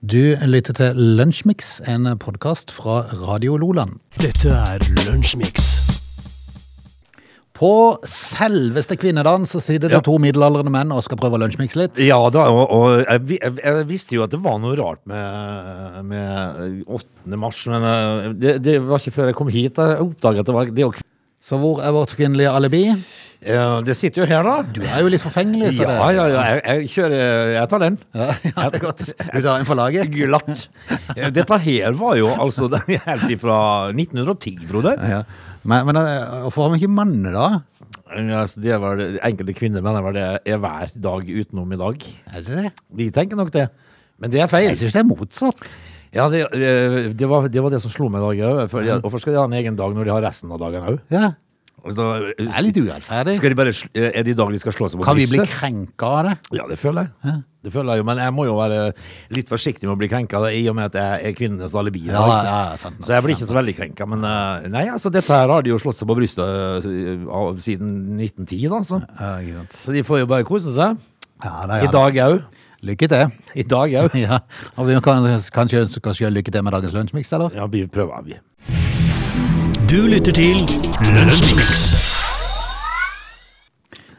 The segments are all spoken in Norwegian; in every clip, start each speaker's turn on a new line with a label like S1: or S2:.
S1: Du lytter til Lunsjmix, en podkast fra Radio Loland.
S2: Dette er Lunsjmix.
S1: På selveste kvinnedagen så sitter det to middelaldrende menn og skal prøve å lunsjmix litt.
S3: Ja da, og, og jeg, vi- jeg, jeg visste jo at det var noe rart med, med 8. mars, men eh, det, det var ikke før jeg kom hit jeg oppdaget at det var det, er jo-
S1: Så hvor er vårt kvinnelige alibi?
S3: Eh, det sitter jo her, da.
S1: Du er jo litt forfengelig, så det
S3: Ja, ja, ja. Jeg, jeg kjører Jeg tar den.
S1: Ja, ja, det er godt. Du tar en for laget?
S3: Glatt. Eh, Dette her var jo altså det er helt ifra 1910, Frode.
S1: Ja. Men, men eh, hvorfor har vi ikke mann, da?
S3: Eh, Altså, det var det, enkelte kvinner mener vel det er hver dag utenom i dag.
S1: Er det det?
S3: De tenker nok det. Men det er feil.
S1: Jeg syns det er motsatt.
S3: Ja, det, eh, det, var, det var det som slo meg i dag òg. For, ja, hvorfor skal de ha en egen dag når de har resten av dagen òg?
S1: Ja.
S3: Altså,
S1: Det er litt urettferdig.
S3: skal de bare sl- eh, er det i dag de skal slå seg på
S1: Kan vi bli
S3: brystet?
S1: krenka av det?
S3: Ja, det føler jeg. Det føler jeg jo, Men jeg må jo være litt forsiktig med å bli krenka, i og med at jeg er kvinnenes alibi. i dag,
S1: Ja,
S3: ikke sant?
S1: ja, ja, sant nok,
S3: så jeg blir
S1: sant
S3: ikke så veldig krenka. Men eh, nei, altså, dette her har de jo slått seg på brystet eh, av- siden 1910, da. Så.
S1: Ja, ikke sant.
S3: så de får jo bare kose seg.
S1: Ja, det
S3: I
S1: er det.
S3: dag òg.
S1: Lykke til.
S3: I dag òg.
S1: Ja. Og vi kan kanskje ønske oss selv lykke til med dagens lunsjmix, eller?
S3: Ja, vi prøver, vi.
S2: Du lytter til Lunsjmix.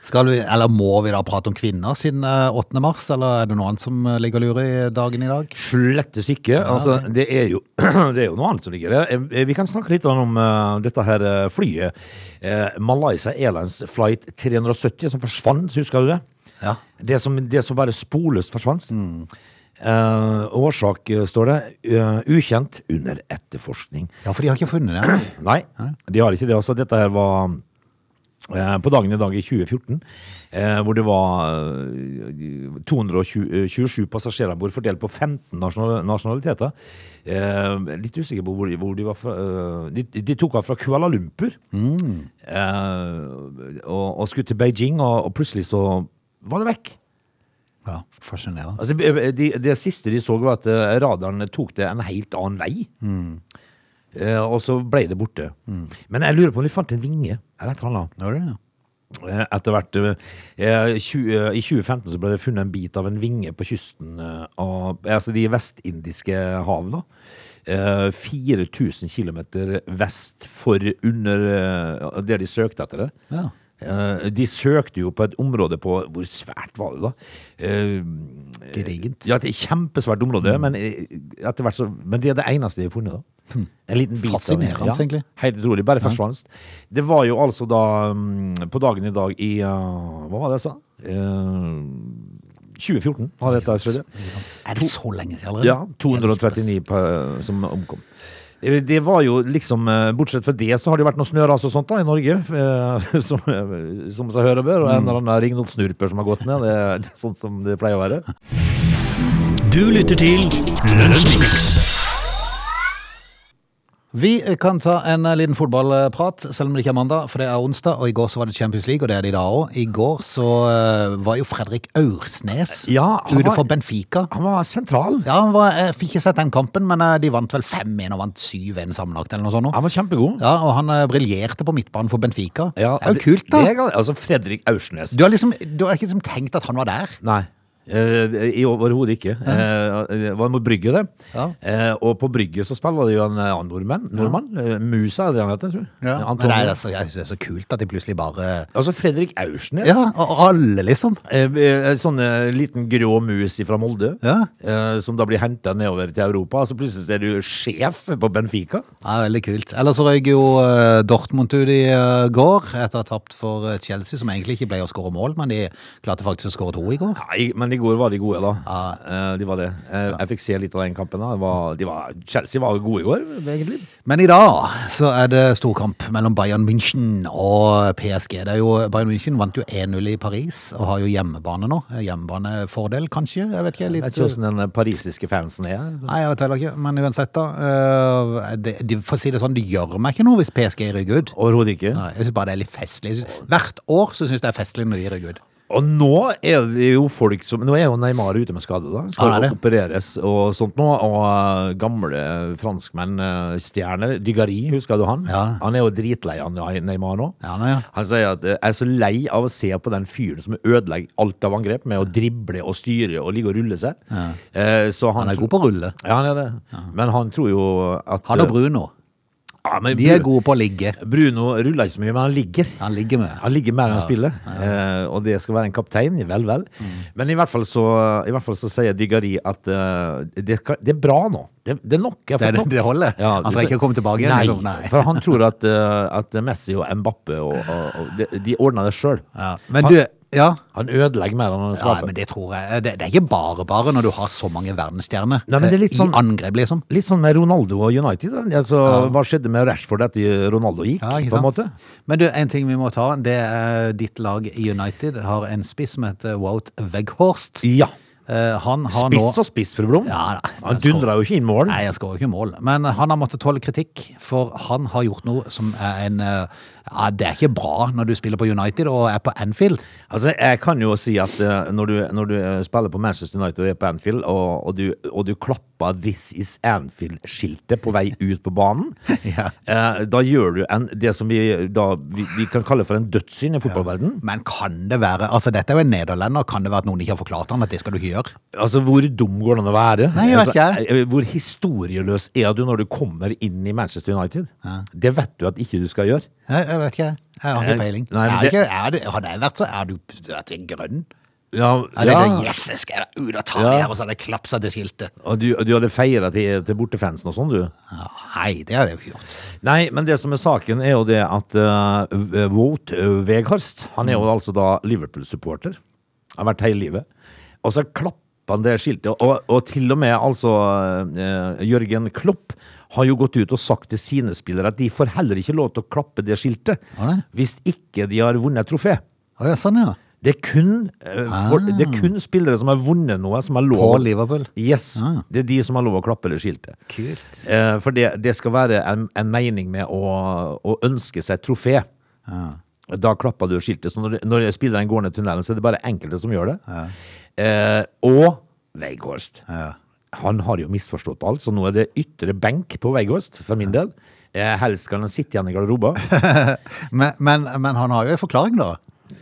S1: Skal vi, eller må vi da prate om kvinner siden eh, 8. mars, eller er det noe annet som eh, ligger og lurer i dagen i dag?
S3: Slettes ikke. altså, det, er jo, det er jo noe annet som ligger der. Eh, Vi kan snakke litt om eh, dette her eh, flyet. Eh, Malaysia Airlines Flight 370 som forsvant, husker du det?
S1: Ja.
S3: Det som, det som bare sporløst forsvant. Eh, årsak, eh, står det. eh, ukjent under etterforskning.
S1: ja, for de har ikke funnet det.
S3: Nei, de har ikke det. Altså, dette her var eh, på dagen i dag i 2014, eh, hvor det var eh, 227 passasjerer ombord, fordelt på 15 nasjonal- nasjonaliteter. Eh, litt usikker på hvor de, hvor de var fra. eh, de, de tok av fra Kuala Lumpur eh, og, og skulle til Beijing, og, og plutselig så var det vekk.
S1: Ja, Fascinerende.
S3: Altså, b- de, det siste de så var at eh, radaren tok det en helt annen vei. Eh, og så ble det borte. Men jeg lurer på om de fant en vinge eller et eller annet.
S1: Nå er det, ja.
S3: Eh, Etter hvert eh, 20, eh, I 2015 så ble det funnet en bit av en vinge på kysten eh, av altså de vestindiske hav. da. Eh, 4000 km vest for under eh, der de søkte etter det.
S1: Ja.
S3: Eh, De søkte jo på et område på Hvor svært var det, da? Eh,
S1: Gedigent.
S3: ja, det er et kjempesvært område,
S1: Mm.
S3: men, eh, etter hvert så, men det er det eneste de har funnet. da. En liten bit
S1: Hm.
S3: av det.
S1: Fascinerende, egentlig.
S3: Helt utrolig. Bare forsvant. Det var jo altså da mm, På dagen i dag i eh, Hva var det jeg sa? Eh, 2014 var dette skjedd.
S1: Er det så lenge siden allerede?
S3: Ja. 239 pa- som omkom. Eh, Det var jo liksom eh, Bortsett fra det, så har det jo vært noe snøras og sånt da i Norge. eh, Som, eh, som seg hører og
S1: Mm.
S3: bør. Og en eller annen ringnotsnurper som har gått ned. Det er sånn som det pleier å være.
S2: Du lytter til Lunsjmix.
S1: Vi eh, kan ta en eh, liten fotballprat, selv om det ikke er mandag, for det er onsdag. Og i går så var det Champions League, og det er det i dag òg. I går så eh, var jo Fredrik Aursnes
S3: Ja, han
S1: ute
S3: var-
S1: for Benfica.
S3: Han var sentral.
S1: Ja, han var, jeg fikk ikke sett den kampen, men eh, de vant vel 5-1 og vant 7-1 sammenlagt, eller noe sånt. nå.
S3: Han var kjempegod.
S1: Ja, og han eh, briljerte på midtbanen for Benfica.
S3: Ja,
S1: det er jo kult, da.
S3: det er gal- altså Fredrik Aursnes.
S1: Du har liksom du har ikke liksom tenkt at han var der.
S3: Nei. eh, i Overhodet ikke. Eh, det var mot Brygge, det.
S1: Ja.
S3: Eh, og på Brygge så spiller det jo en eh, annen nordmann. nordmann. Eh, Musa er det han heter, tror jeg. Eh,
S1: Men det
S3: Antonio.
S1: er, altså, jeg synes det er så kult at de plutselig bare
S3: Altså Fredrik Aursnes.
S1: Ja, og og alle, liksom.
S3: Eh, eh, sånn eh, liten grå mus fra Molde.
S1: Ja.
S3: Eh, som da blir henta nedover til Europa. Og så plutselig så er du sjef på Benfica.
S1: Ja, Veldig kult. Ellers så røyk jo eh, Dortmund ut i eh, går etter å ha tapt for eh, Chelsea, som egentlig ikke ble å skåre mål, men de klarte faktisk å skåre to i går.
S3: Nei, men i går var de gode, da.
S1: Ja.
S3: Eh, de var det. Eh, Jeg fikk se litt av den kampen. da Det var, de var, Chelsea var gode i går, egentlig.
S1: Men i dag så er det storkamp mellom Bayern München og PSG. Det er jo, Bayern München vant jo 1-0 i Paris og har jo hjemmebane nå. Hjemmebanefordel, kanskje? Jeg vet ikke.
S3: Jeg vet
S1: litt...
S3: ikke hvordan den parisiske fansen er.
S1: Nei, jeg vet heller ikke, men uansett da eh, det, de, For å si det sånn, det gjør meg ikke noe hvis PSG rygger ut
S3: Overhodet ikke.
S1: Nei, Jeg synes bare det er litt festlig Jeg synes- Hvert år så synes jeg det er festlig når de rygger ut
S3: Og nå er det jo folk som Nå er jo Neymar ute med skade, da. Skal
S1: Han er det.
S3: opereres og sånt nå. Og eh, gamle franskmenn, eh, stjerner Dygari, husker du han?
S1: Ja.
S3: Han er jo dritlei av Ne- Neymar nå.
S1: Ja, nei, ja.
S3: Han sier at eh, jeg er så lei av å se på den fyren som ødelegger alt av angrep med å drible og styre og ligge og rulle seg. Eh, Så
S1: Han er god på å rulle.
S3: Ja, han er det. Men han tror jo at eh,
S1: Han og Bruno.
S3: Ja, men
S1: De er
S3: Bru-
S1: gode på å ligge.
S3: Bruno ruller ikke så mye, men han ligger.
S1: Han ligger med.
S3: Han ligger mer enn han spiller, eh, og det skal være en kaptein. Vel, vel.
S1: Mm.
S3: Men i hvert fall så, i hvert fall så sier Dygari at eh, det, skal, det er bra nå. Det, det er nok. jeg har
S1: Det er
S3: fått
S1: det-
S3: nok.
S1: det holder. Han
S3: det-
S1: trenger ikke å komme tilbake igjen,
S3: Nei,
S1: liksom. Nei.
S3: for han tror at, eh, at Messi og Mbappe og, og, og de, de ordner det sjøl.
S1: Ja. Men du, ja.
S3: Han ødelegger mer enn han
S1: Ja,
S3: skaper.
S1: men det tror jeg. Det, det er ikke bare bare når du har så mange verdensstjerner
S3: Nei, men det er litt
S1: eh,
S3: sånn-
S1: i angrep, liksom.
S3: Litt sånn med Ronaldo og United. da. Altså, Hva skjedde med Rashford etter Ronaldo gikk?
S1: Ja, ikke
S3: på en måte?
S1: sant? Men du, en ting vi må ta, det er ditt lag United har en spiss som heter Wout Weghorst.
S3: Ja.
S1: Eh, Han har nå
S3: Spiss og spiss, fru Blom.
S1: Ja, da.
S3: han dundra jo ikke inn mål.
S1: Nei, jeg skårer ikke mål. Men han har måttet tåle kritikk, for han har gjort noe som er en eh, Ja, det er ikke bra når du spiller på United og er på Anfield.
S3: Altså, jeg kan jo si at eh, når, du, når du eh, spiller på Manchester United og er på Anfield, og, og, du, og du klapper 'This is Anfield'-skiltet på vei ut på banen,
S1: Ja.
S3: eh, da gjør du en, det som vi, da, vi, vi kan kalle for en dødssynd i fotballverden.
S1: Men kan det være Altså, dette er jo en nederlender. Kan det være at noen ikke har forklart han at det skal du ikke gjøre?
S3: Altså, hvor dum går det an å være?
S1: Nei, jeg vet
S3: Altså, eh, Hvor historieløs er du når du kommer inn i Manchester United? Det vet du at ikke du skal gjøre.
S1: Nei, jeg vet ikke. Jeg har
S3: Eh,
S1: ikke peiling.
S3: nei, men
S1: er det
S3: det-
S1: ikke, er det, hadde jeg vært så, er du, er du grønn?
S3: Ja,
S1: Er det
S3: ja.
S1: det, yes, jeg skal ut og ta
S3: Ja.
S1: det her, og så hadde jeg klapsa til skiltet.
S3: Og du, og du hadde feira til, til bortefansen og sånn, du?
S1: Ja, Nei, det hadde jeg jo ikke gjort.
S3: Nei, men det som er saken er jo det at uh, Wout eh, Weghorst, han er jo altså da Liverpool-supporter. Har vært hele livet. Og så klapper han det skiltet. Og, og til og med altså eh, Jørgen Klopp har jo gått ut og sagt til sine spillere at de får heller ikke lov til å klappe det skiltet
S1: Har det?
S3: hvis ikke de har vunnet trofé.
S1: Å ja, sånn, ja.
S3: Det er, kun, eh, for, det er kun spillere som har vunnet noe, som har lov
S1: Ah. På Liverpool.
S3: Yes.
S1: Ah.
S3: Det er de som har lov å klappe det skiltet.
S1: Kult.
S3: Eh, for det, det skal være en, en mening med å, å ønske seg trofé. Da klapper du skiltet. Så når, når spilleren går ned tunnelen, så er det bare enkelte som gjør det. Eh, og Weghorst. Han har jo misforstått alt, så nå er det ytre benk på Weghorst, for min del. Eh, helst skal han sitte igjen i garderoben.
S1: Men, men, men han har jo en forklaring, da.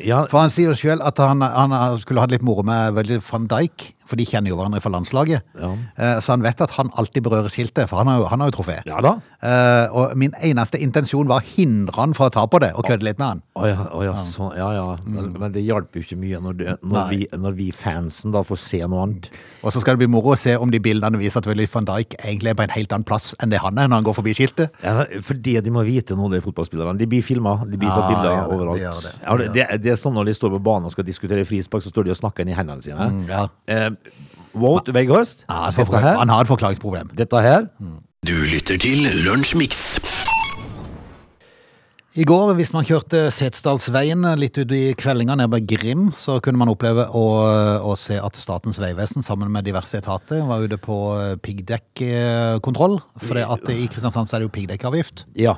S3: Ja,
S1: For han sier jo sjøl at han, han skulle hatt litt moro med Willy van Dijk, for de kjenner jo hverandre fra landslaget.
S3: Ja.
S1: Eh, Så han vet at han alltid berører skiltet, for han har jo, han har jo trofé.
S3: ja da.
S1: Eh, og min eneste intensjon var å hindre han fra å ta på det, og kødde litt med han.
S3: Å ja, å ja, sånn. ja, ja. Men, men det hjalp jo ikke mye når, det, når, vi, når vi fansen da får se noe annet.
S1: Og så skal det bli moro å se om de bildene viser at Willy van Dijk egentlig er på en helt annen plass enn det han er når han går forbi skiltet.
S3: Ja, for det de må vite nå, det er fotballspillerne. De blir filma, de blir
S1: Ja,
S3: tatt bilder
S1: de gjør det, de
S3: overalt.
S1: gjør det, de
S3: Ja, det, det, det er sånn når de står på banen og skal diskutere frispark, så står de og snakker inn i hendene sine.
S1: Mm, ja.
S3: Eh, Wout Weghorst,
S1: Ja, han,
S3: dette
S1: forklaring-
S3: her,
S1: han Mm. har et forklaringsproblem.
S3: dette her
S2: Du lytter til Lunsjmix.
S1: I går, hvis man kjørte Setesdalsveien eh, litt ut i kveldinga ned ved Grim, så kunne man oppleve å, eh, å se at Statens vegvesen sammen med diverse etater var ute på eh, piggdekkkontroll. For det at i Kristiansand så er det jo piggdekkavgift,
S3: Ja.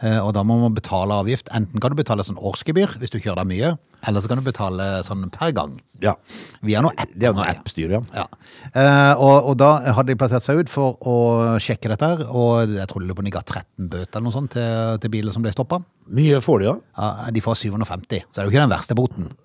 S1: eh, og da må man betale avgift. Enten kan du betale sånn årsgebyr hvis du kjører deg mye, eller så kan du betale sånn per gang.
S3: ja.
S1: Vi har noe app.
S3: Det er jo noe
S1: Maria.
S3: app-styr, ja.
S1: Ja. Eh, og, og da hadde de plassert seg ut for å sjekke dette her, og jeg tror det lå på om de ga 13 bøter eller noe sånt til, til biler som ble stoppa.
S3: Mye får de, ja.
S1: Ja, de får 750, så det er jo ikke den verste boten. Det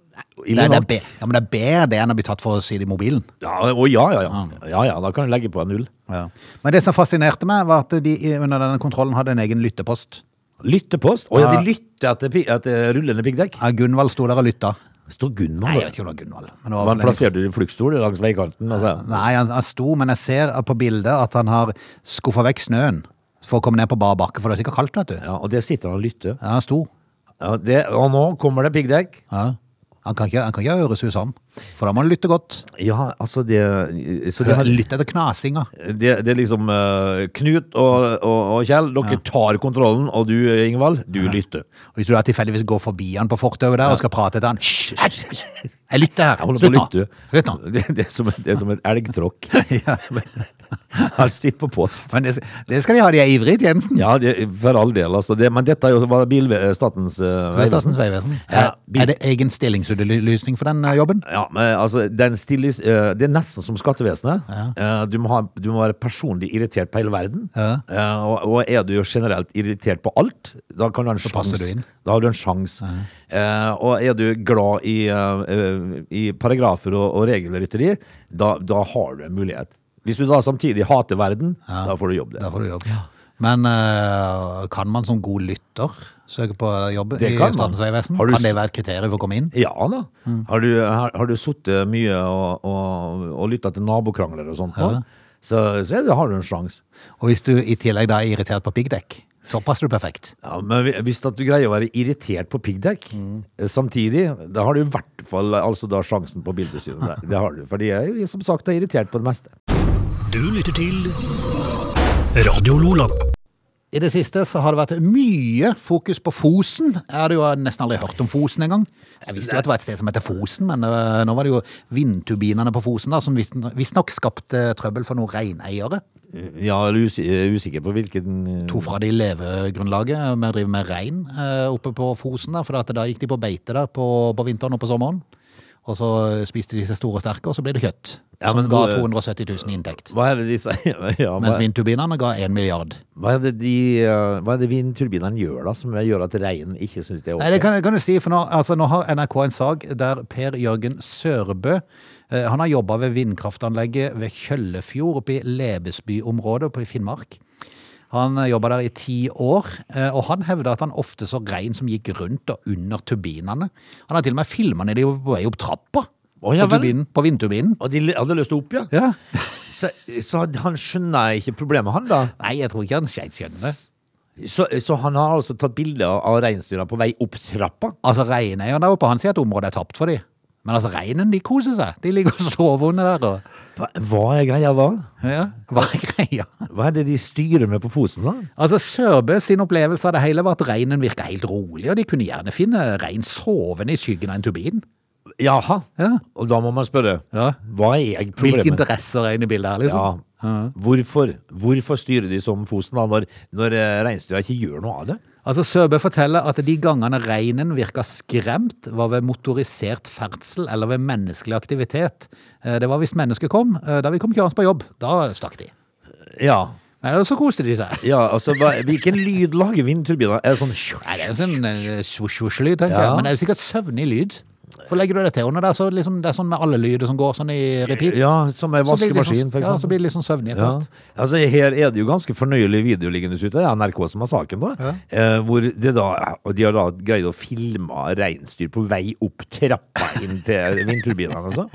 S3: Ille
S1: er, det er,
S3: nok.
S1: be- ja, men det er bedre det enn å bli tatt for å si det i mobilen.
S3: Ja, å, ja, ja, ja.
S1: Mm.
S3: ja, ja. Da kan du legge på en null.
S1: Men det som fascinerte meg, var at de i- under denne kontrollen hadde en egen lyttepost.
S3: Lyttepost? Å ja,
S1: Ja.
S3: de lytter etter, pi- etter rullende piggdekk.
S1: Ja, Gunvald sto der og lytta.
S3: Står
S1: Nei,
S3: Gunvor
S1: jeg
S3: der?
S1: vet ikke om det var Gunvald. Men det var
S3: Han
S1: for lenge siden.
S3: plasserte du fluktstol langs veikanten? Altså.
S1: Nei, han, han sto, men jeg ser på bildet at han har skuffa vekk snøen for å komme ned på bar bakke, for det er sikkert kaldt, vet du.
S3: Ja, og der sitter han og lytter.
S1: Ja, han sto.
S3: Ja, det, og nå kommer det piggdekk.
S1: Ja. Han kan ikke, han kan ikke ha øresus, han. For da må han lytte godt.
S3: Ja, altså det Så det,
S1: Hør- Lytte etter knasinga.
S3: det, det er liksom eh, Knut og, og, og Kjell, dere tar kontrollen, og du, eh, Ingvald, du lytter.
S1: Og Hvis du da tilfeldigvis går forbi han på fortauet der og skal prate til han Hysj! hysj, hysj. Jeg lytter her.
S3: Jeg holder på å lytte.
S1: Slutt nå.
S3: Det, det, er som, det er som en elgtråkk.
S1: Ja.
S3: har stitt på post.
S1: Men det, det skal de ha, de er ivrige, Jensen.
S3: Ja, det, for all del, altså. Det, men dette er jo hva bil, Statens eh,
S1: Det er Statens vegvesen.
S3: Ja,
S1: Er,
S3: bil-
S1: er det egen stillingsutlysning for den eh, jobben?
S3: Ja, men altså, den stilles, eh, det er nesten som skattevesenet. Eh, Du må, ha, du må være personlig irritert på hele verden.
S1: Ja.
S3: Eh, og, og er du jo generelt irritert på alt, da kan du ha en
S1: passer
S3: sjans.
S1: du inn.
S3: Da har du en sjans. Eh, og er du glad i, eh, eh, i paragrafer og, og regelrytteri, da, da har du en mulighet. Hvis du da samtidig hater verden, da får du jobb der.
S1: Der får du jobb. Men eh, kan man som god lytter søke på jobb
S3: Det
S1: i
S3: kan man.
S1: Statens vegvesen?
S3: Har du
S1: Kan det
S3: s-
S1: være et kriterium for å komme inn?
S3: Ja da.
S1: Mm.
S3: Har du, har, har du sittet mye og, og, og lytta til nabokrangler og sånt, nå, så, så er det, har du en sjanse.
S1: Og hvis du i tillegg da er irritert på piggdekk, så passer du perfekt.
S3: Ja, men hvi- hvis at du greier å være irritert på piggdekk eh, samtidig, da har du i hvert fall altså da sjansen på bildesynet. der. Det har du, for de er jo som sagt er irritert på det meste.
S2: Du lytter til Radio Lola.
S1: I det siste så har det vært mye fokus på Fosen. Jeg hadde jo nesten aldri hørt om Fosen engang. Jeg visste jo at det var et sted som heter Fosen, men eh, nå var det jo vindturbinene på Fosen da, som visstnok skapte trøbbel for noen reineiere.
S3: Ja, eller us eh, usikker på hvilken eh,
S1: To fra de levegrunnlaget med å drive med rein eh, oppe på Fosen, da, for at da gikk de på beite der på, på vinteren og på sommeren. Og så spiste de seg store og sterke, og så ble det kjøtt.
S3: Ja,
S1: som
S3: men
S1: ga
S3: hvor-
S1: 270 000 i inntekt.
S3: Hva er det de sier? Ja, hva,
S1: Mens vindturbinene ga 1 milliard.
S3: hva er det de eh, Hva er det vindturbinene gjør da, som gjør at reinen ikke syns det er
S1: Nei, det
S3: ok?
S1: kan, kan du si, for nå, altså, nå har NRK en sak der Per Jørgen Sørbø eh, han har jobba ved vindkraftanlegget ved Kjøllefjord oppe i Lebesby-området oppe i Finnmark. Han jobba der i ti år, eh, og han hevda at han ofte så rein som gikk rundt og under turbinene. Han har til og med filma når de var på vei opp trappa
S3: Å, ja
S1: på,
S3: vel.
S1: turbinen, på vindturbinen.
S3: Og de hadde lyst til å opp, ja?
S1: Ja.
S3: Så, så han skjønner ikke problemet, han da?
S1: Nei, jeg tror ikke han skjønt skjønner det.
S3: Så, så han har altså tatt bilde av- av reinsdyra på vei opp trappa?
S1: Altså, Reineieren der oppe han sier at området er tapt for dem. Men altså, reinen de koser seg. De ligger og sover under der. Og,
S3: Hva, hva er greia da?
S1: ja. Hva er greia?
S3: Hva er det de styrer med på Fosen, da?
S1: Altså, Sørbø sin opplevelse av det hele var at reinen virka helt rolig, og de kunne gjerne finne rein sovende i skyggen av en turbin.
S3: Jaha.
S1: Ja.
S3: Og da må man spørre
S1: Ja.
S3: hva er
S1: Hvilke
S3: problemet?
S1: interesser er inne i bildet her,
S3: Ja.
S1: liksom?
S3: Hvorfor? Hvorfor styrer de som Fosen da, når, når eh, reinsdyra ikke gjør noe av det?
S1: Altså, Sørbø forteller at de gangene reinen virka skremt, var ved motorisert ferdsel eller ved menneskelig aktivitet. Eh, Det var hvis mennesket kom. eh, Da vi kom kjørende på jobb, da stakk de.
S3: Ja.
S1: Men så koste de seg.
S3: ja altså, hva, hvilken lyd lager vindturbiner? Er det sånn
S1: Nei, det er jo sånn eh, svosj-svosj-lyd, tenker
S3: Ja.
S1: jeg. Men det er jo sikkert søvnig lyd. For legger du det til under der, så liksom, det er sånn med alle lyder som går sånn i repeat.
S3: Ja, som en
S1: Så blir det litt
S3: vaskemaskin,
S1: sånn-
S3: for
S1: Ja, så
S3: eksempel.
S1: blir det litt sånn søvnig etter
S3: Ja.
S1: hvert.
S3: Altså, her er det jo ganske fornøyelig video liggende ute. Det er NRK som har saken, da. Eh, hvor det da, og de har da greid å filme reinsdyr på vei opp trappa inn til vindturbinene, altså.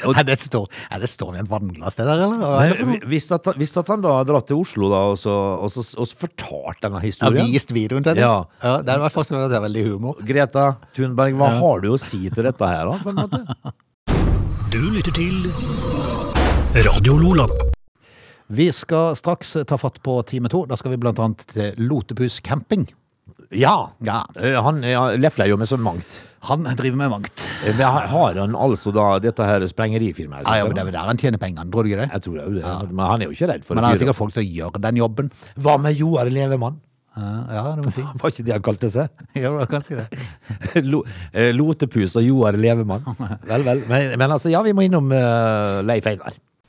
S3: Og-
S1: Er det et stå- er det stående i et vannglass, det der, eller? Hva er det for noe?
S3: Men Hvis at, hvis at han da hadde dratt til Oslo da, og så, og så, og så fortalt denne
S1: Jeg har
S3: historien
S1: vist videoen til det.
S3: Ja.
S1: Ja, det hadde vært faktisk det er veldig humor.
S3: Greta Thunberg, hva har du å si til dette her da, på en måte?
S2: Du lytter til Radio Lola.
S1: Vi skal straks ta fatt på time to. Da skal vi blant annet til Lotepus camping.
S3: Ja!
S1: Ja.
S3: Eh, Han ja, lefler jo med så mangt.
S1: Han driver med mangt.
S3: Eh, men Har har han altså da dette her sprengerifirmaet?
S1: Ja, ja,
S3: sikkert,
S1: men det
S3: da?
S1: er vel der han tjener pengene, tror du ikke det?
S3: Jeg tror det er jo det, men han er jo ikke redd for
S1: Men han har
S3: det.
S1: sikkert folk som gjør den jobben.
S3: Hva med Joar Levemann?
S1: Ja, ja, det må jeg si.
S3: Var ikke det han kalte seg?
S1: Ja, det kan si det.
S3: Lo, eh, Lotepus og Joar Levemann. Vel, vel. Men, men altså, ja, vi må innom eh, Leif Einar.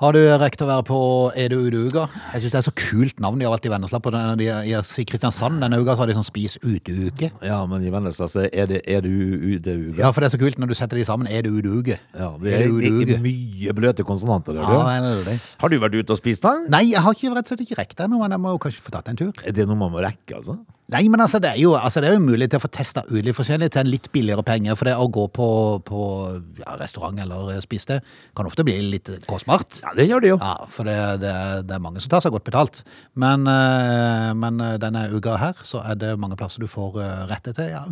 S1: Har du eh, rekt å være på Er du ute uka? Jeg syns det er så kult navn de har vært i Vennesla. På den, de, i Kristiansand denne uka så har de sånn Spis ute-uke.
S3: Ja, men i Vennesla så er det, er det u, u, det u,
S1: Ja, for det er så kult når du setter de sammen. Er du ute uke?
S3: Ja, det er,
S1: du
S3: det
S1: ute
S3: er
S1: uke?
S3: mye bløte konsonanter der,
S1: Ja,
S3: du.
S1: veldig.
S3: Har du vært ute og spist den?
S1: Nei, jeg har ikke rett og slett ikke rekt det ennå, men jeg må jo kanskje få tatt en tur.
S3: Er det noe man må rekke, altså?
S1: Nei, men altså, det er jo, altså, det er jo mulig til å få testa ut litt forskjellig til en litt billigere penge. For det å gå på, på ja, restaurant eller spise det kan ofte bli litt kostbart.
S3: Ja, det gjør det jo.
S1: Ja, for det, det, er- det er mange som tar seg godt betalt. Men, eh, men eh, denne uka her, så er det mange plasser du får eh, rette til ja,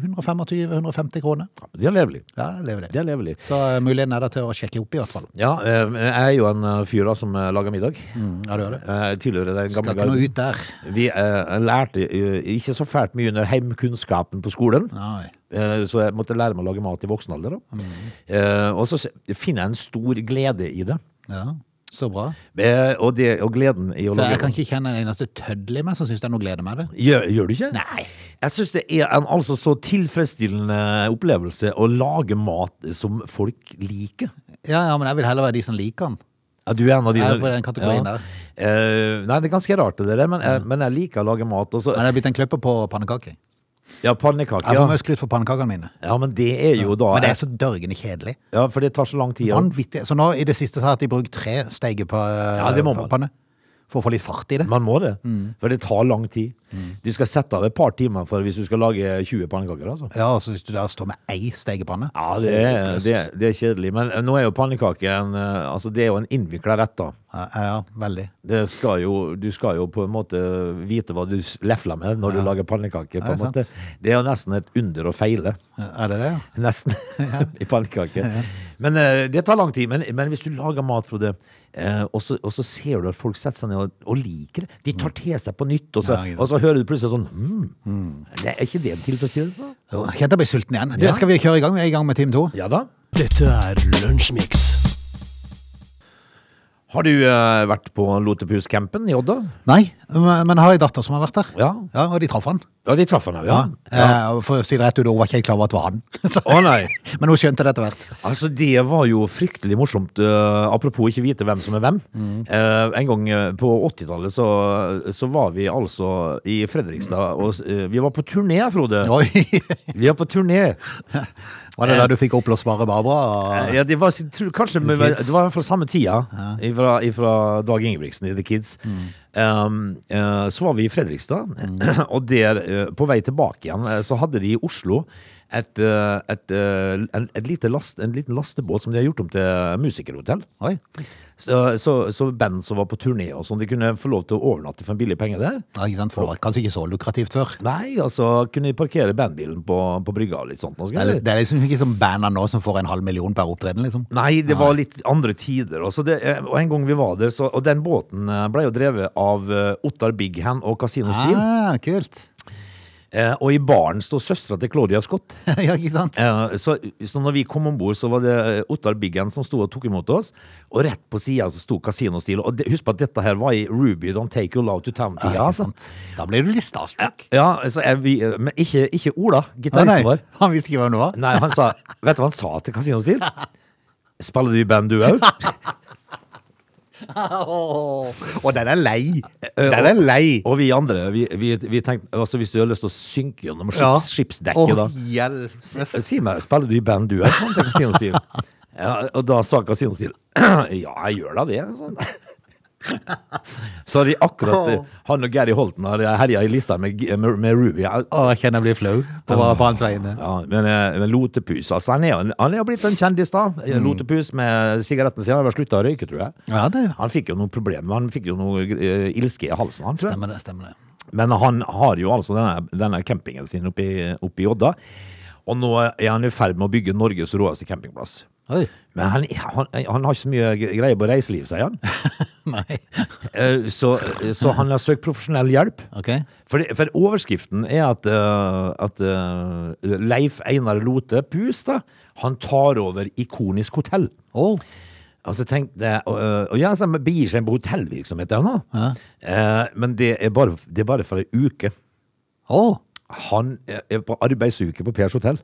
S1: 125-150 kroner.
S3: Det er levelig.
S1: Ja, det lever
S3: Det
S1: det.
S3: er levelig.
S1: Så eh, muligheten er der til å sjekke opp, i hvert fall.
S3: Ja, eh, jeg er jo en eh, fyr da som eh, lager middag.
S1: Mm, ja, du gjør det.
S3: Eh, Tidligere den
S1: Skal
S3: gamle
S1: ikke noe
S3: garden.
S1: ut der.
S3: Vi eh, lærte eh, ikke så fælt mye under heimkunnskapen på skolen.
S1: Nei.
S3: Eh, Så jeg måtte lære meg å lage mat i voksen alder. Da.
S1: Mm.
S3: Eh, Og så se- finner jeg en stor glede i det.
S1: Ja, så bra.
S3: Eh, Og, det, og gleden i å
S1: For jeg
S3: lage
S1: kan ikke kjenne en eneste tøddel i meg som syns det er noe glede med det.
S3: Gjør, gjør du ikke?
S1: Nei.
S3: Jeg syns det er en altså så tilfredsstillende opplevelse å lage mat som folk liker.
S1: Ja, ja, men jeg vil heller være de som liker den.
S3: Ja, du er en av de
S1: Jeg er
S3: der-
S1: på den kategorien der. Mm.
S3: Eh, nei, det er ganske rart det der, men, jeg- men jeg liker å lage mat. Og så,
S1: Men jeg er blitt en kløpper på pannekaker.
S3: ja, pannekaker.
S1: Jeg får
S3: Ja.
S1: mye skryt for pannekakene mine.
S3: ja, men det er jo da
S1: Men det er så dørgende kjedelig.
S3: Ja, for det tar så lang tid. ja.
S1: Vanvittig. Så nå i det siste så har jeg brukt tre
S3: Ja, det må man.
S1: steigepanne for å få litt fart i det.
S3: Man må det.
S1: Mm.
S3: For det tar lang tid. Du skal sette av et par timer for hvis du skal lage 20 pannekaker, altså.
S1: Ja, og så hvis du da står med ei steigepanne
S3: Ja, det er, det, er- det er kjedelig. Men eh, nå er jo pannekake en eh, Altså, det er jo en innvikla rett, da.
S1: Ja, ja, veldig.
S3: Det skal jo, du skal jo på en måte vite hva du s- lefler med når du lager pannekaker.
S1: Ja, det
S3: På en
S1: er sant.
S3: måte. Det er jo nesten et under å feile.
S1: Er det det? ja?
S3: Nesten. I pannekaker. Men eh, det tar lang tid. Men, men hvis du lager mat, Frode, eh, og, så, og så ser du at folk setter seg ned og, og liker det. De tar til seg på nytt, og så,
S1: Mm. Ja, ikke sant. Mm.
S3: og så hører du plutselig sånn «Hm, det Er ikke det en tilfredsstillelse? da?»
S1: Jo, Jeg kjente jeg ble sulten igjen. Det
S3: Ja.
S1: skal vi kjøre i gang. Vi er i gang med time to.
S3: Ja da.
S2: Dette er Lunsjmix.
S3: Har du eh, vært på Lotepus-campen i Odda?
S1: Nei, men men jeg har ei datter som har vært der.
S3: Ja.
S1: Ja, Og de traff han.
S3: Ja, de traff han her, ja.
S1: Ja. Eh, For å si det rett ut, hun var ikke helt klar over at det var han. Så,
S3: Å nei.
S1: men hun skjønte det etter hvert.
S3: Altså, det var jo fryktelig morsomt. eh, apropos ikke vite hvem som er hvem. Eh, en gang eh, på 80-tallet så, så var vi altså i Fredrikstad, og eh, vi var på turné, Frode.
S1: Oi,
S3: Vi var på turné.
S1: Var det da du fikk oppblåsbare Barbara?
S3: Ja, det var, jeg tror, kanskje, men,
S1: Kids.
S3: det var i hvert fall samme tida, ifra, ifra Dag Ingebrigtsen i The Kids. Um, eh, så var vi i Fredrikstad, og der, eh, på vei tilbake igjen, eh, så hadde de i Oslo et, eh, et, eh, en, et lite last, en liten lastebåt som de har gjort om til musikerhotell.
S1: Oi.
S3: Så, så, så band som var på turné og sånn, de kunne få lov til å overnatte for en billig penge der.
S1: Ja, ikke sant, for det var kanskje ikke så lukrativt før.
S3: Nei, altså kunne de parkere bandbilen på, på brygga og litt sånt. Og så,
S1: Det er, det er liksom ikke som banda nå som får en halv million per opptreden, liksom.
S3: Nei, det var litt andre tider. Og, så det, eh, og en gang vi var der, så, og den båten eh, ble jo drevet av eh, Ottar Big Hand og Casino Steel.
S1: Ah, kult.
S3: Eh, og i baren sto søstera til Claudia Scott.
S1: ja, ikke sant?
S3: Eh, så, så når vi kom om bord, så var det eh, Ottar Big Hand som sto og tok imot oss. Og rett på sida så sto Casino Steel. Og det, husk på at dette her var i Ruby Don't Take Your Love to
S1: Ja,
S3: Town-tida.
S1: ikke
S3: altså.
S1: sant. Da ble du litt starstruck.
S3: Ja, så er vi, eh, men ikke, ikke Ola,
S1: Nei, nei,
S3: gitaristen vår.
S1: han visste ikke hvem det var.
S3: Nei, han sa Vet du hva han sa til Casino Steel? Spiller du i band, du òg?
S1: Åh, Og den er lei. Den er lei.
S3: Og vi andre, vi, vi, vi tenkte altså hvis du har lyst til å synke gjennom skips,
S1: Ja. Åh,
S3: skipsdekket, da Eh,
S1: hjelpes.
S3: Si meg, spiller du i band, du òg? Sånn, til Casino Steel. Ja, og da sa Casino Steel Ja, jeg gjør da det. Sånn. Så har de akkurat
S1: Åh.
S3: Han og Gary Holten har herja i lista med, med, med Ruby. Ja,
S1: Åh, jeg kjenner jeg blir flau på, på hans vegne.
S3: Ja, men, eh, men Lotepus, altså han er, jo en- han er jo blitt en kjendis da Lotepus med sigaretten sin Han har sluttet å røyke, tror jeg
S1: Mm. Ja, det
S3: Han fikk jo noen problemer, han fikk jo noe eh, ilske i halsen han, tror jeg.
S1: stemmer det. stemmer det.
S3: Men han har jo altså denne, denne campingen sin oppe i, oppe i Odda Og nå er han i ferd med å bygge Norges råeste campingplass
S1: Oi.
S3: Men han, han, han har ikke så mye greie på reiseliv, sier han
S1: Nei.
S3: Eh, så, så han har søkt profesjonell hjelp
S1: Ok.
S3: for, det- for overskriften er at, eh, at eh, Leif Einar Lote Pus da, han tar over ikonisk hotell.
S1: Åh,
S3: Altså tenk det, og, eh, og ja, så begir seg inn på hotellvirksomhet der nå. Eh, men det er, bare, det er bare for en uke.
S1: åh.
S3: Han er er på arbeidsuke på Pers hotell.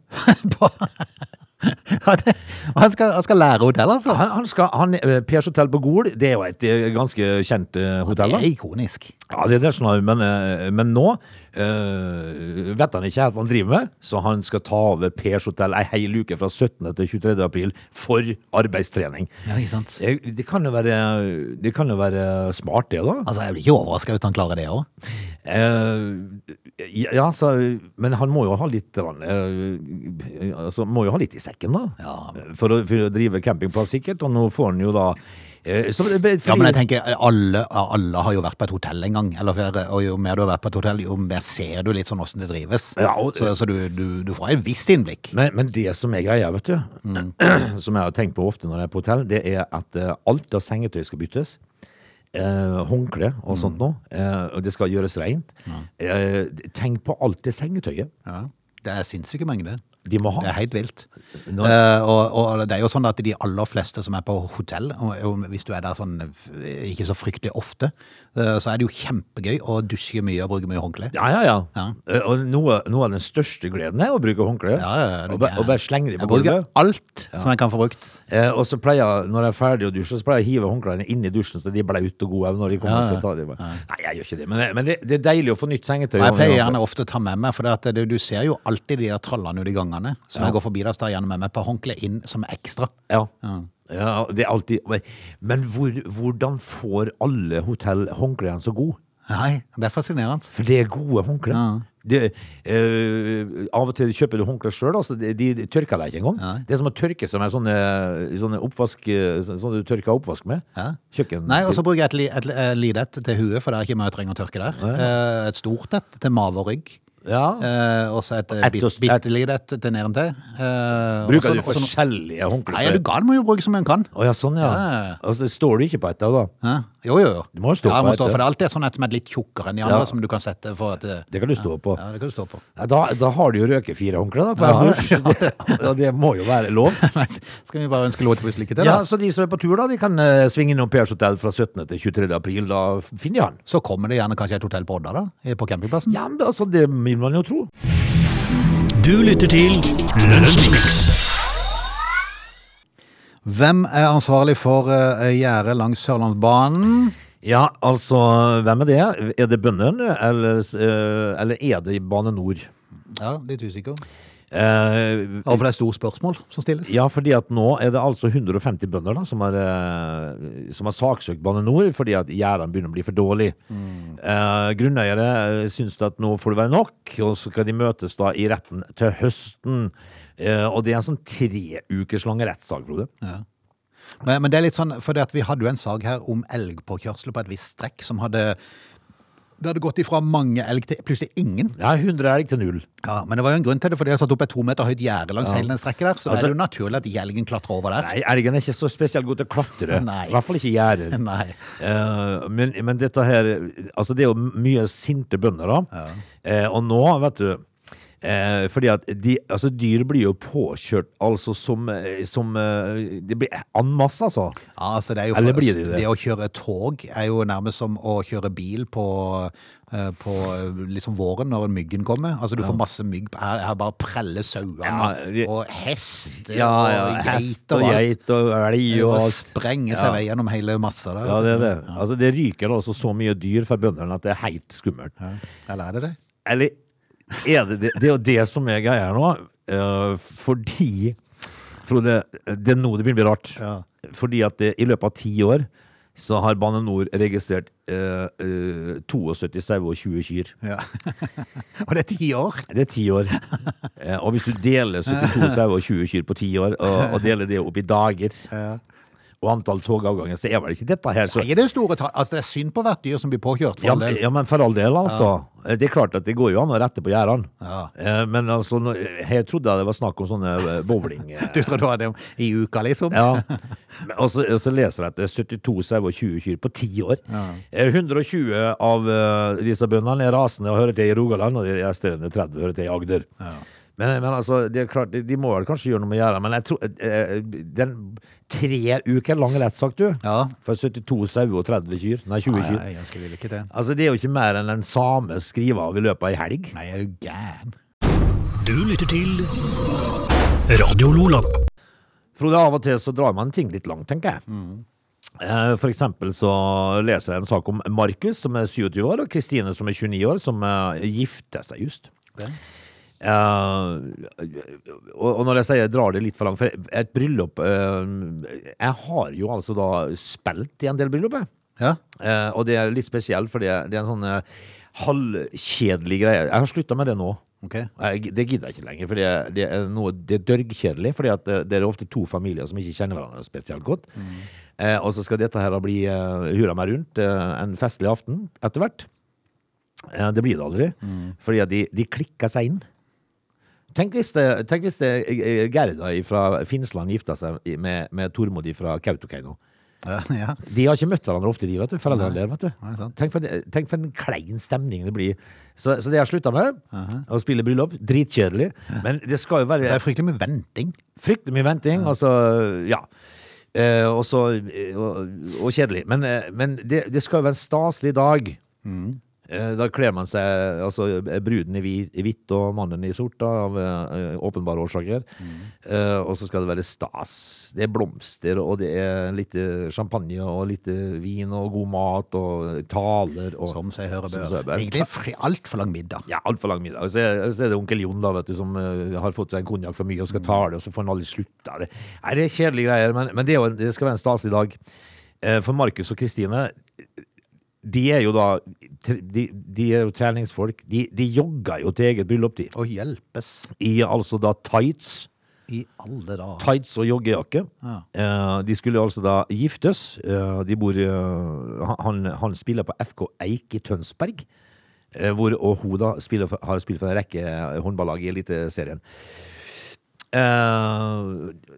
S1: Ja, det- og han, skal, han skal lære hotell, altså.
S3: Han, han skal, han, eh, Pers hotell på Gol, det er jo et eh, ganske kjent eh, hotell.
S1: Det
S3: da.
S1: er ikonisk.
S3: Ja, det er det som er, men, eh, men nå eh, vet han ikke helt hva han driver med, så han skal ta over Pers hotell ei hel uke fra 17. til 23. april for arbeidstrening.
S1: Ja, ikke sant?
S3: Eh, Det kan jo være, det kan jo være smart, det, da.
S1: Altså, Jeg blir ikke overraska hvis han klarer det òg.
S3: Eh, ja, så, men han må jo ha litt grann, eh, altså, Må jo ha litt i sekken, da.
S1: Ja.
S3: For, å, for å drive campingplass, sikkert. Og nå får han jo da eh, så, fordi,
S1: Ja, men jeg tenker, alle, alle har jo vært på et hotell en gang, eller flere, og jo mer du har vært på et hotell, jo mer ser du litt sånn åssen det drives.
S3: Ja, og-
S1: så så du, du, du får et visst innblikk.
S3: Men, men det som er greia, vet du,
S1: Mm.
S3: som jeg har tenkt på ofte når jeg er på hotell, det er at eh, alt av sengetøy skal byttes. Eh, håndkle og
S1: Mm.
S3: sånt nå. Eh, og det skal gjøres rent. Eh, tenk på alt det sengetøyet
S1: Ja. Det er sinnssyke mengder.
S3: de må
S1: Det
S3: ha.
S1: er helt vilt.
S3: Nå-
S1: Eh, og, og det er jo sånn at de aller fleste som er på hotell, og- og hvis du er der sånn eh, ikke så fryktelig ofte, eh, så er det jo kjempegøy å dusje mye og bruke mye håndkle.
S3: Ja, ja, ja.
S1: Ja.
S3: Eh, og noe, noe av den største gleden er å bruke håndkle.
S1: Ja, ja, ja, det
S3: og, ba,
S1: er-
S3: og bare slenge dem
S1: Jeg
S3: på
S1: bruker
S3: gulvet.
S1: alt som jeg kan få brukt.
S3: Eh, og så pleier jeg, når jeg er ferdig å dusje, så pleier jeg å hive håndklærne inn i dusjen så de er blaute og gode òg når de kommer
S1: Ja,
S3: og
S1: ja.
S3: skal ta dem. Nei, jeg gjør ikke det, men, men det, det er deilig å få nytt sengetøy.
S1: Og jeg
S3: og-
S1: pleier gjerne ofte å ta med meg, for det at det, du ser jo alltid de der trallene ute i gangene. Så når jeg går forbi der, så tar jeg gjerne med meg et par håndkle inn som ekstra.
S3: Ja. ja det er alltid Men hvor, hvordan får alle hotell håndklærne så gode?
S1: Nei, det er fascinerende.
S3: For det er gode håndklær. Det, eh, av og til kjøper du håndklær sjøl. Altså, de, de tørker deg ikke engang. Det er som å tørke som en sånn sånne oppvask eh, Sånn sånn du tørker oppvask med.
S1: Ja.
S3: Kjøkken.
S1: Nei, altså- og så bruker jeg et, li- et, li- eh, lidett til huet, for det er ikke mye jeg trenger å tørke der. Eh, Et stort et til mave og rygg.
S3: ja.
S1: Eh, og så et eh,
S3: Et
S1: bit,
S3: og s- et-
S1: bitte lidett til nedentil. Eh, og så-
S3: Bruker du
S1: og så-
S3: forskjellige håndklær?
S1: Nei, er du
S3: for-
S1: gal? Må jo bruke som en kan.
S3: Å ja, sånn ja.
S1: Ja.
S3: Og så står du ikke på ett av, da.
S1: Hæ? Jo, jo, jo.
S3: Du må jo stå
S1: ja, jeg
S3: på
S1: må
S3: et,
S1: stå,
S3: ja.
S1: for det er alltid et sånn et som er litt tjukkere enn de andre,
S3: Ja.
S1: som du kan sette for at eh,
S3: Det kan du stå på.
S1: Ja, det kan du stå på.
S3: Ja, Da, da har du jo røket fire håndklær da, på en dusj. Det, ja, det må jo være lov.
S1: Nei, Skal vi bare ønske Låtepus lykke til, da?
S3: Ja, så de som er på tur da, de kan eh, svinge innom Pers Hotel fra 17. til 23. april, da finner de han.
S1: Så kommer det gjerne kanskje et hotell på Odda, da? i- På campingplassen?
S3: Ja, men altså, det vil man jo tro.
S2: Du lytter til Lunsjmix.
S1: Hvem er ansvarlig for uh, gjerdet langs Sørlandsbanen?
S3: Ja, altså, hvem er det? Er det bøndene, eller, eh, eller er det Bane Nord?
S1: Ja, litt usikker.
S3: Eh,
S1: Ja, for det er store spørsmål som stilles.
S3: ja, fordi at nå er det altså 150 bønder da, som har, eh, som har saksøkt Bane Nord fordi at gjerdene begynner å bli for dårlige. Eh, grunneiere eh, syns at nå får det være nok, og så skal de møtes da i retten til høsten. Eh, og det er en sånn tre ukers lang rettssak, Frode.
S1: Men, men det er litt sånn, for det at vi hadde jo en sag her om elgpåkjørsler på et visst strekk som hadde det hadde gått ifra mange elg til plutselig ingen.
S3: Ja, 100 elg til null.
S1: Ja, Men det var jo en grunn til det, for de har satt opp et to meter høyt gjerde langs hele den strekket der. Så da
S3: Altså-
S1: er det jo naturlig at elgen klatrer over der.
S3: Nei, elgen er ikke så spesielt god til å klatre.
S1: Nei.
S3: I hvert fall ikke gjerder.
S1: Nei.
S3: Eh, men, men dette her Altså, det er jo mye sinte bønder, da. Eh, og nå, vet du eh, fordi at de, altså Dyr blir jo påkjørt altså som, eh, som eh, Det blir en masse, altså.
S1: Ja, altså det er jo
S3: Eller blir de det?
S1: det å kjøre tog er jo nærmest som å kjøre bil på, eh, på eh, liksom våren når myggen kommer. Altså du får masse mygg. Her, her bare preller sauene
S3: Ja, vi-
S1: og hester og
S3: hest
S1: geiter
S3: og
S1: og alt.
S3: geit og elg og
S1: Og
S3: alt.
S1: sprenger seg vei gjennom hele massa der.
S3: Ja, det er det. Altså, det ryker altså så mye dyr fra bøndene at det er helt skummelt.
S1: Ja. Eller er det det?
S3: Eller er det det? Det er jo det som er greia her nå. eh, fordi Frode, det er nå det begynner å bli rart.
S1: Ja.
S3: Fordi at det, i løpet av ti år så har Bane NOR registrert eh, eh, 72 sauer og 20 kyr.
S1: Ja. og det er ti år!
S3: Det er ti år. Eh, og hvis du deler 72 sauer og 20 kyr på ti år, og, og deler det opp i dager og antall togavganger, så er vel ikke dette her så
S1: Nei, det er store tall. Altså, det er synd på hvert dyr som blir påkjørt. For
S3: Ja,
S1: all del.
S3: ja, men for all del, altså. Det er klart at det går jo an å rette på gjerdene.
S1: Ja.
S3: Eh, Men altså, nå- jeg trodde det var snakk om sånne eh, bowling... eh,
S1: Du tror du har det i uka, liksom?
S3: Ja. Men- Og så, og så leser jeg at det er 72 sauer og 20 kyr på ti år. Eh, 120 av eh, disse bøndene er rasende og hører til i Rogaland, og de resterende 30 hører til i Agder. Men, men altså, det er klart, de, de må vel kanskje gjøre noe med gjerdet, men jeg tror eh, Den tre uker lang rettssak, du.
S1: Ja.
S3: For 72 sauer og 30 kyr. Nei, 20
S1: Nei,
S3: kyr.
S1: jeg ønsker vi lykke til.
S3: Altså, det er jo ikke mer enn en same skriver av i løpet av ei helg.
S1: Nei, er du gæren?
S2: Du lytter til Radio Lola.
S3: Frode, av og til så drar man ting litt langt, tenker jeg. Eh, For eksempel så leser jeg en sak om Markus, som er 27 år, og Kristine, som er 29 år, som eh, gifter seg just. Eh, og, og når jeg sier jeg drar det litt for langt, for et bryllup eh, Jeg har jo altså da spilt i en del bryllup, jeg.
S1: Ja.
S3: Eh, og det er litt spesielt, for det, det er en sånn eh, halvkjedelig greie. Jeg har slutta med det nå.
S1: Ok.
S3: Jeg, det gidder jeg ikke lenger, for det, det er noe Det er dørgkjedelig, for det er ofte to familier som ikke kjenner hverandre spesielt godt. Eh, og så skal dette her da bli eh, hurra meg rundt eh, en festlig aften etter hvert. Eh, det blir det aldri, fordi at de, de klikker seg inn. Tenk hvis, det, tenk hvis det, eh, Gerda fra Finnsland gifta seg i- med, med Tormod fra Kautokeino.
S1: Ja, ja.
S3: De har ikke møtt hverandre ofte, de, vet du. Foreldrene der, vet du.
S1: Nei, sant.
S3: Tenk for, tenk for en klein stemning det blir. Så, så det har jeg slutta med. Å spille bryllup. Dritkjedelig. Men det skal jo
S1: Så det
S3: være
S1: er fryktelig mye venting.
S3: fryktelig mye venting. Altså, ja. Eh, og så eh, og, og kjedelig. Men, eh, men det, det skal jo være en staselig dag.
S1: Mm.
S3: Eh, da kler man seg altså bruden i hvi- i hvitt og mannen i sort, da, av eh, åpenbare årsaker.
S1: Mm.
S3: Eh, og så skal det være stas. Det er blomster, og det er litt eh, champagne, og litt eh, vin, og god mat, og taler. Og,
S1: Som seg hører
S3: Som
S1: bør.
S3: seg bør.
S1: Egentlig fri- altfor lang middag.
S3: ja, altfor lang middag. Og Så er, så er det onkel Jon da, vet du, som eh, har fått seg en konjakk for mye og skal ta det, og så får han aldri slutta. Det, nei, det er kjedelige greier, men, men det, er jo, en- det skal være en staselig dag. Eh, For Markus og Kristine, de er jo da De, de er jo treningsfolk. De, de jogger jo til eget bryllup, de.
S1: Og hjelpes
S3: I altså da tights.
S1: i alle dager.
S3: Tights og joggejakke.
S1: Ja.
S3: Eh, de skulle altså da giftes. Eh, de bor eh, han, han spiller på FK Eik i Tønsberg. eh, hvor, og hun da spiller for, har spilt for en rekke eh, håndballag i Eliteserien. Eh,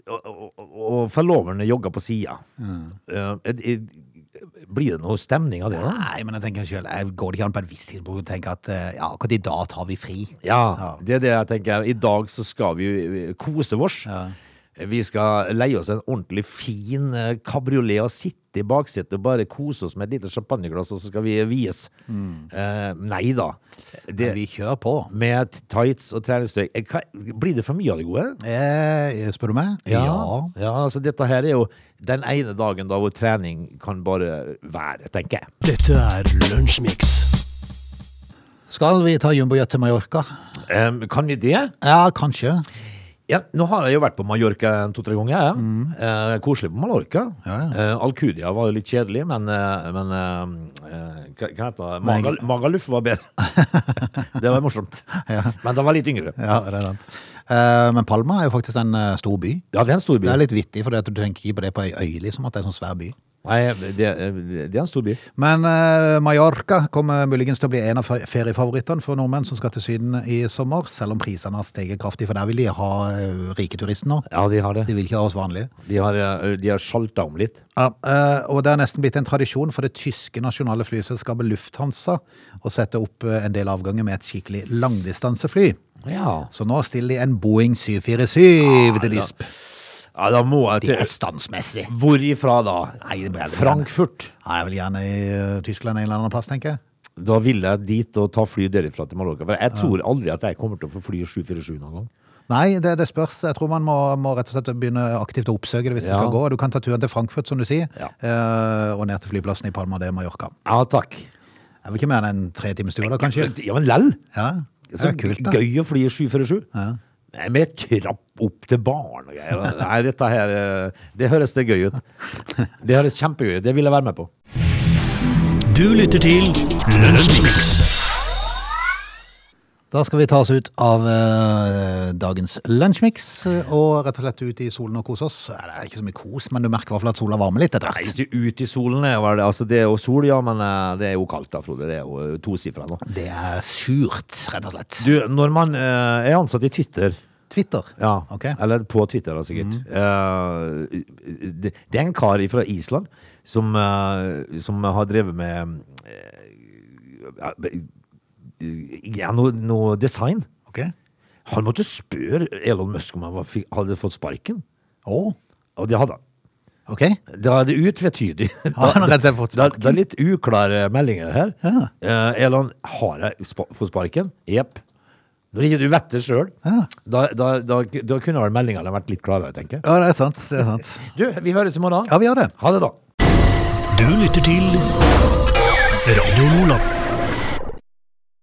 S3: og, og, og- og forloverne jogger på sida. blir det noe stemning av det? da?
S1: Nei, men jeg tenker selv, jeg går det ikke an på et visst tidspunkt å tenke at eh, ja, akkurat i dag tar vi fri.
S3: Ja, det er det jeg tenker. I dag så skal vi eh, kose oss. Vi skal leie oss en ordentlig fin eh, kabriolet og sitte i baksetet og bare kose oss med et lite champagneglass, og så skal vi vies. Eh, nei da. Det,
S1: Men vi kjører på.
S3: med tights og treningstøy. Eh, hva- Blir det for mye av det gode?
S1: Eh, spør du meg?
S3: ja, altså Dette her er jo den ene dagen da hvor trening kan bare være, tenker jeg.
S2: Dette er Lunsjmix.
S1: Skal vi ta jumbojet til Mallorca?
S3: Eh, kan vi det?
S1: Ja, kanskje.
S3: Ja, nå har jeg jo vært på Mallorca en to-tre ganger. Ja. Eh, koselig på Mallorca.
S1: Mm. Ja,
S3: Eh, Alcudia var jo litt kjedelig, men, eh, men eh, eh, hva, hva heter det?
S1: Men
S3: Magal,
S1: jeg-
S3: Magaluf var bedre. det var morsomt. Men da var jeg litt yngre.
S1: Ja, det er sant. Eh, men Palma er jo faktisk en eh, stor by.
S3: Ja, det er en stor by.
S1: Det er litt vittig, for du tenker ikke på det på ei øy, liksom, at det er en sånn svær by.
S3: Nei, det, det er en stor by.
S1: Men eh, Mallorca kommer muligens til å bli en av fe- feriefavorittene for nordmenn som skal til Syden i sommer, selv om prisene har steget kraftig, for der vil de ha eh, rike turister nå.
S3: Ja, de har det.
S1: De vil ikke ha oss vanlige.
S3: De har, eh, de har sjalta om litt.
S1: Ja, eh, og det er nesten blitt en tradisjon for det tyske nasjonale flyselskapet Lufthansa å sette opp eh, en del avganger med et skikkelig langdistansefly.
S3: Ja.
S1: Så nå stiller de en Boeing 747 til
S3: da-
S1: disp.
S3: ja da må jeg
S1: Det er
S3: til
S1: stansmessig.
S3: Hvor ifra da?
S1: Nei, det blir jeg vel
S3: Frankfurt.
S1: Nei, jeg vil gjerne i eh, Tyskland en eller annen plass, tenker jeg.
S3: Da vil jeg dit og ta fly derifra til Mallorca. For jeg tror aldri at jeg kommer til å få fly 747 noen gang.
S1: Nei, det, det spørs. Jeg tror man må, må rett og slett begynne aktivt å oppsøke det hvis det
S3: Ja.
S1: skal gå. Du kan ta turen til Frankfurt, som du sier,
S3: Ja.
S1: eh, og ned til flyplassen i Palma de Mallorca.
S3: Ja, takk.
S1: Jeg vil ikke mer enn en tre times tur da, kanskje?
S3: Ja, men lell.
S1: Ja, det
S3: Så
S1: er kult da.
S3: gøy å fly 747. Nei, Med trapp opp til barn og greier. Nei, dette her eh, Det høres det gøy ut. Det høres kjempegøy ut. Det vil jeg være med på.
S2: Du lytter til Lunsjmix.
S1: Da skal vi ta oss ut av eh, dagens lunsjmix, eh, og rett og slett ut i solen og kose oss. Eh, Det er ikke så mye kos, men du merker i hvert fall at sola varmer litt etter
S3: Nei,
S1: hvert.
S3: ikke ut i solen. er vel det. Altså, det er jo sol, ja, men eh, det er jo kaldt da, Frode. Det er jo tosifra nå.
S1: Det er surt, rett og slett.
S3: Du, når man eh, er ansatt i Twitter
S1: Twitter.
S3: ja,
S1: Ok. Mm.
S3: Eller på Twitter, da, sikkert. eh, det, det er en kar fra Island som, eh, som har drevet med eh, ja, noe, noe design.
S1: Ok.
S3: Han måtte spørre Elon Musk om han var, fikk- hadde fått sparken.
S1: Å,
S3: Og det hadde han.
S1: ok.
S3: Det er det utvetydig.
S1: Har han rett og slett fått
S3: Det er, det er litt uklare meldinger her.
S1: Ja.
S3: Eh, Elon, har jeg spa fått sparken? Jepp. Når ikke du vet det sjøl,
S1: Ja.
S3: da, da, da, da kunne vel meldingene vært litt klarere, tenker jeg.
S1: Ja, det er sant. det er sant.
S3: Du, vi høres i morgen.
S1: Ja, vi gjør det.
S3: Ha det, da.
S2: Du lytter til Radio Lola.